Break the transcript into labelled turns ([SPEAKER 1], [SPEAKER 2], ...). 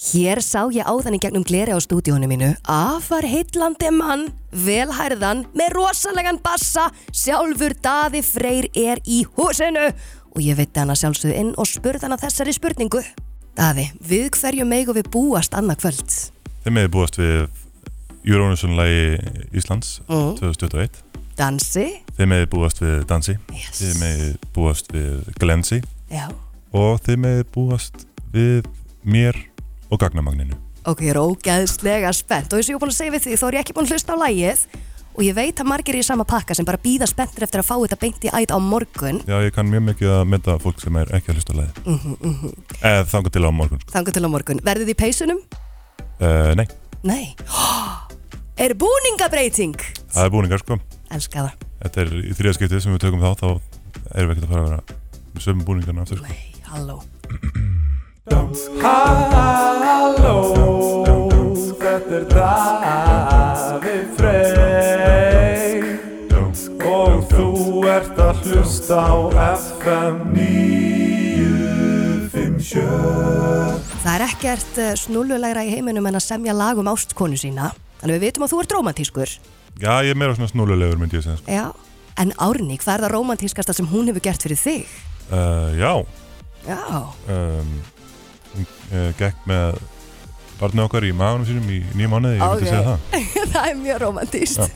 [SPEAKER 1] Hér sá ég áðan í gegnum gleri á stúdíónu mínu afar heitlandi mann, velhærðan, með rosalegan bassa, sjálfur daði freyr er í húsinu og ég veit hann að sjálfsögðu inn og spurði hann að þessari spurningu. Daði, við hverju megu við búast annað kvöld?
[SPEAKER 2] Þeim meði búast við Eurovision-lægi Íslands
[SPEAKER 1] Mm.
[SPEAKER 2] 2021
[SPEAKER 1] Dansi?
[SPEAKER 2] Þeim meði búast við Dansi
[SPEAKER 1] Yes.
[SPEAKER 2] Þeim meði búast við Glensi
[SPEAKER 1] Já.
[SPEAKER 2] og þeim meði búast við mér og gagnamagninu
[SPEAKER 1] Ok, ég er ógæðslega spennt og eins og ég er búin að segja við því þá er ég ekki búin að hlusta á lægið og ég veit að margir er í sama pakka sem bara býða spenntir eftir að fá þetta beint í ætt á morgun
[SPEAKER 2] Já, ég kann mjög mikið að mynda fólk sem er ekki að hlusta á lagið mm -hmm. Eða þangar til á morgun sko.
[SPEAKER 1] þangu til á morgun. Verðið þið í peysunum?
[SPEAKER 2] uh, Nei,
[SPEAKER 1] Nei. Er búningabreiting?
[SPEAKER 2] það er búningar sko
[SPEAKER 1] Elska það.
[SPEAKER 2] Þetta er í þriða skiptið sem við tökum þá þá erum við ekkert að fara að vera með sömu búningarna aftur sko.
[SPEAKER 1] Nei, halló.
[SPEAKER 3] Þetta er Davi Freyr Og þú ert að hlusta á FM 957
[SPEAKER 1] Það er ekkert eh, snúllulegra í heiminum en að semja lag um ástkonu sína. Þannig við vitum að þú ert romantískur.
[SPEAKER 2] Já, ég er meira svona snúlulegur myndi ég segja sko.
[SPEAKER 1] Já. En Árni, hvað er það romantískasta sem hún hefur gert fyrir þig?
[SPEAKER 2] uh, Já,
[SPEAKER 1] Já.
[SPEAKER 2] um, hún uh, gekk með barnið okkar í maganum sínum í nýjum mánuði, ég myndi
[SPEAKER 1] Ok.
[SPEAKER 2] segja það
[SPEAKER 1] það er mjög romantíst.